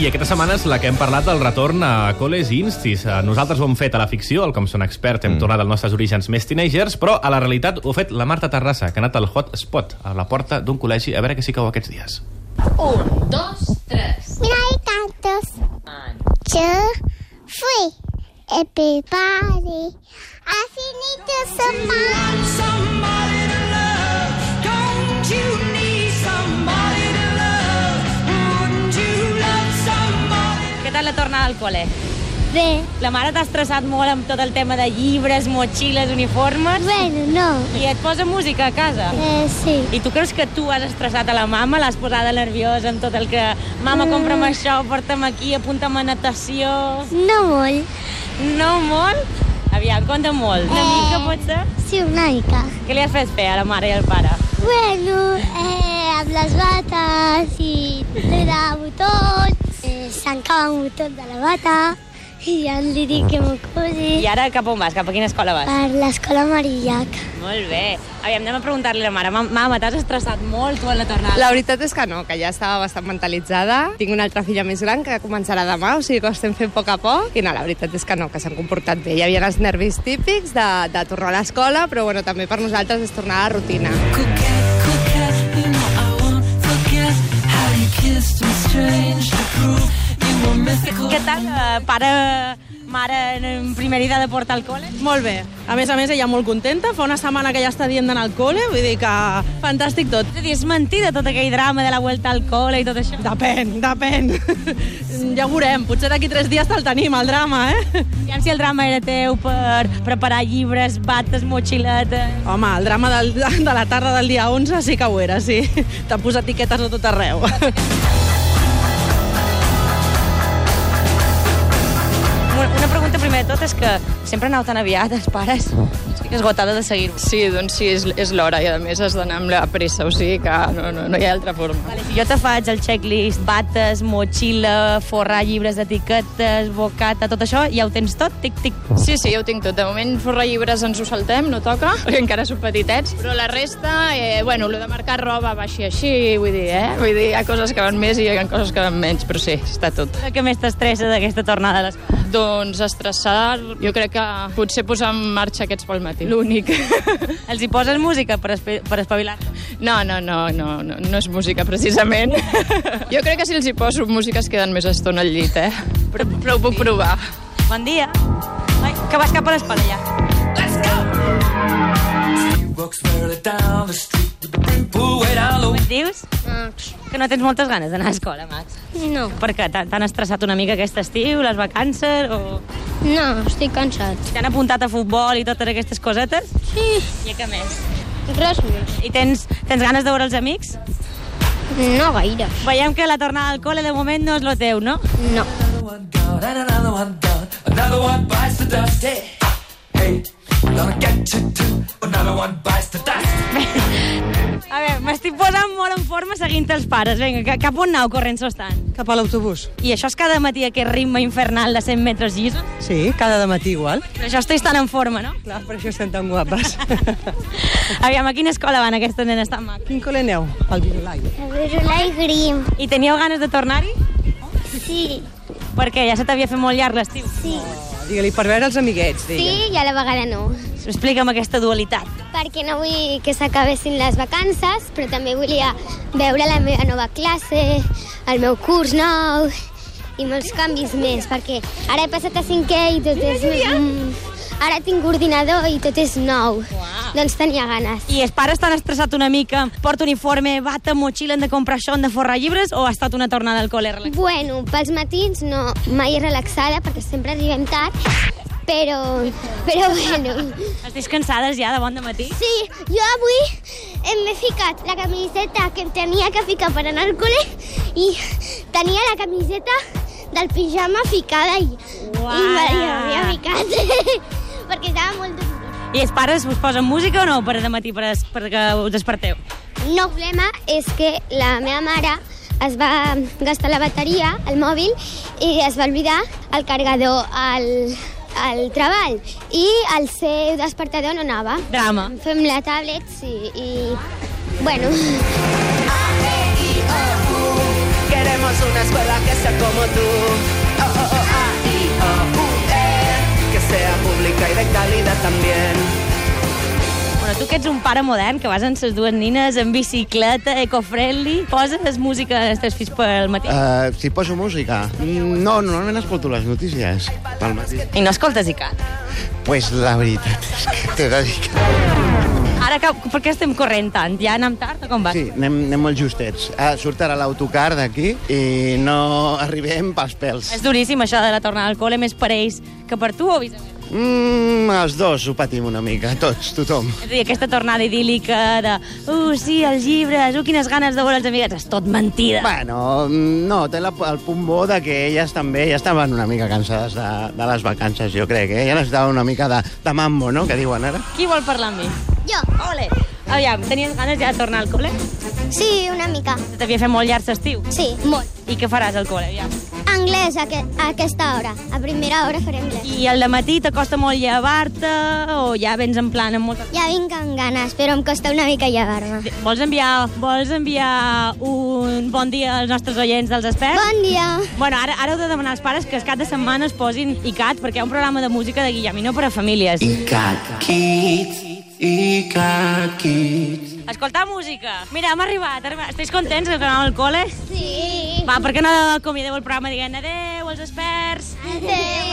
I aquesta setmana és la que hem parlat del retorn a col·les i instis. Eh, Nosaltres ho hem fet a la ficció, el Com són expert, hem mm. tornat als nostres orígens més teenagers, però a la realitat ho ha fet la Marta Terrassa, que ha anat al hot spot, a la porta d'un col·legi, a veure què s'hi cau aquests dies. Un, dos, tres. Mira i cantos. En Yo fui everybody. I need to somebody. somebody to love? Don't you need somebody to love? Wouldn't you love somebody? Què tal la tornada al col·le? Bé, La mare t'ha estressat molt amb tot el tema de llibres, motxilles, uniformes... bueno, no. I et posa música a casa. Eh, sí. I tu creus que tu has estressat a la mama? L'has posada nerviosa amb tot el que... Mama, compra'm això, porta'm aquí, apunta'm a natació... No molt. No molt? Aviam, compta molt. Una Eh. mica, potser? Sí, una mica. Què li has fet fer a la mare i al pare? Bueno, eh, amb les bates i de botons. Eh, S'encava un botó de la bata i ja li dic que m'ho I cosi. ara cap on vas? Cap a quina escola vas? Per l'escola Marillac. Molt bé. Aviam, anem a preguntar-li a la mare. "Ma- Mama, t'has estressat molt tu a la tornada. La veritat és que no, que ja estava bastant mentalitzada. Tinc una altra filla més gran que començarà demà, o sigui que ho estem fent a poc a poc. I no, la veritat és que no, que s'han comportat bé. Hi havia els nervis típics de, de tornar a l'escola, però bueno, també per nosaltres és tornar a la rutina. Coquette, coquette, you know I won't forget how you kissed me strange to prove you were mythical. Què tal, eh, pare, mare, en primera idea de portar al col·le? Molt bé. A més a més, ella molt contenta. Fa una setmana que ja està dient d'anar al col·le, vull dir que fantàstic tot. És a dir, és mentida tot aquell drama de la vuelta al col·le i tot això. Depèn, depèn. Ja ho veurem. Potser d'aquí tres dies te'l tenim, el drama, eh? Aviam si el drama era teu per preparar llibres, bates, motxiletes... Home, el drama del, de la tarda del dia 11 sí que ho era, sí. T'ha posat etiquetes a tot arreu. Una una pregunta primer de tot és que sempre aneu tan aviat, els pares. Estic esgotada de seguir-vos. Sí, doncs sí, és, és l'hora i a més has d'anar amb la pressa, o sigui que no, no, no hi ha altra forma. Vale, si jo te faig el checklist, bates, motxilla, forrar llibres d'etiquetes, bocata, tot això, ja ho tens tot, tic-tic. Sí, sí, ja ho tinc tot. De moment forra llibres ens ho saltem, no toca, perquè encara són petitets, però la resta, eh, bueno, lo de marcar roba va així així, vull dir, eh? Vull dir, hi ha coses que van més i hi ha coses que van menys, però sí, està tot. Què més t'estressa d'aquesta tornada a l'escola? Doncs estressar, jo crec que potser posar en marxa aquests pel matí. L'únic. Els hi poses música per, espe- per espavilar? No, no, no, no, no, no és música, precisament. Jo crec que si els hi poso música es queden més estona al llit, eh? Però, però ho puc provar. Bon dia. Ai, que vas cap a l'escola ja. She walks further down the street with the brim pulled way down low. Et dius que no tens moltes ganes d'anar a escola, Max. No, Per què? T'han t'han estressat una mica aquest estiu, les vacances, o no, estic cansat. t'han apuntat a futbol i totes aquestes cosetes? Sí, I a què més? res més. I tens, tens ganes de veure els amics? No gaire. Veiem que la tornada al col·le de moment no és lo teu, no? No. Another one gone and another one done. Another one bites the dust. Hey, hey, gonna get you too. Another one bites the dust. A veure, m'estic posant molt en forma seguint els pares. Vinga, ca- cap on anau corrent s'estan? Cap a l'autobús. I això és cada matí aquest ritme infernal de 100 metres llisos? Sí, cada matí igual. Però això estàs tan en forma, no? Clar, per això estem tan guapes. Aviam, a quina escola van aquestes nenes tan maques? Quin col·le aneu? Al Virulai. Virulai Grim. I teníeu ganes de tornar-hi? Sí. Perquè ja se t'havia fet molt llarg l'estiu. Sí. Digue-li, per veure els amiguets, digue. Sí, i a la vegada no. Explica'm aquesta dualitat. Perquè no vull que s'acabessin les vacances, però també volia veure la meva nova classe, el meu curs nou i molts canvis més, perquè ara he passat a cinquè i tot és... Mm, ara tinc ordinador i tot és nou. Doncs tenia ganes. I els pares estan estressats una mica, porta uniforme, bata, motxilla, han de comprar això, han de forrar llibres, o ha estat una tornada al col·le? relaxant? Bueno, pels matins no, mai relaxada, perquè sempre arribem tard, però, però bueno, Estàs cansades ja de bon de matí? Sí, jo avui em m'he ficat la camiseta que em tenia que ficar per anar al col·le i tenia la camiseta del pijama ficada i, Uala. i me l'havia ficat perquè estava molt dolorós. I els pares us posen música o no per de matí per, es- perquè us desperteu? El nou problema és que la meva mare es va gastar la bateria, el mòbil, i es va oblidar el cargador al, al treball i el seu despertador no anava. Drama. Fem la tablet i, i bueno, Queremos Queremos una escuela que sea como tú. O, O, O, A, I, O, U, E. Que sea pública y de calidad también. Bueno, tu que ets un pare modern, que vas amb ses dues nines, en bicicleta, eco-friendly, poses música als teus fills pel matí? Uh. Uh, si poso música? No, normalment escolto les notícies pel matí. I no escoltes i cat. Pues la veritat és que t'he de dir que... Ara, que, per què estem corrent tant? Ja anem tard o com va? Sí, anem, anem molt justets. Uh, surt ara l'autocar d'aquí i no arribem pels pèls. És duríssim, això de la tornada al col·le, més per ells que per tu, o viceversa? Mm, els dos ho patim una mica, tots, tothom. És a dir, aquesta tornada idíl·lica de uh, sí, els llibres, uh, quines ganes de veure els amiguets, és tot mentida. Bueno, mm, no, té la, el punt bo de que elles també ja estaven una mica cansades de, de les vacances, jo crec, eh? Ja necessitaven una mica de, de mambo, no?, que diuen ara. Qui vol parlar amb mi? Jo, Ole! Aviam, tenies ganes ja de tornar al col·le? sí, una mica. Se t'havia fet molt llarg l'estiu. Sí, molt. I què faràs al col·le, aviam? Anglès a, que, a aquesta hora. A primera hora faré anglès. I al matí t'acosta molt llevar-te o ja vens en plan amb molta... Ja vinc amb ganes, però em costa una mica llevar-me. Vols enviar, vols enviar un bon dia als nostres oients dels experts? Bon dia. Bueno, ara, ara heu de demanar als pares que es cap de setmana es posin ICAT, perquè hi ha un programa de música de Guillemino per a famílies. Icat Kids, Icat Kids. Escolta música. Mira, hem arribat. hem arribat. Esteu contents que anàvem al col·le? Sí. Va, per què no acomiadeu el programa dient adeu als experts? Adéu.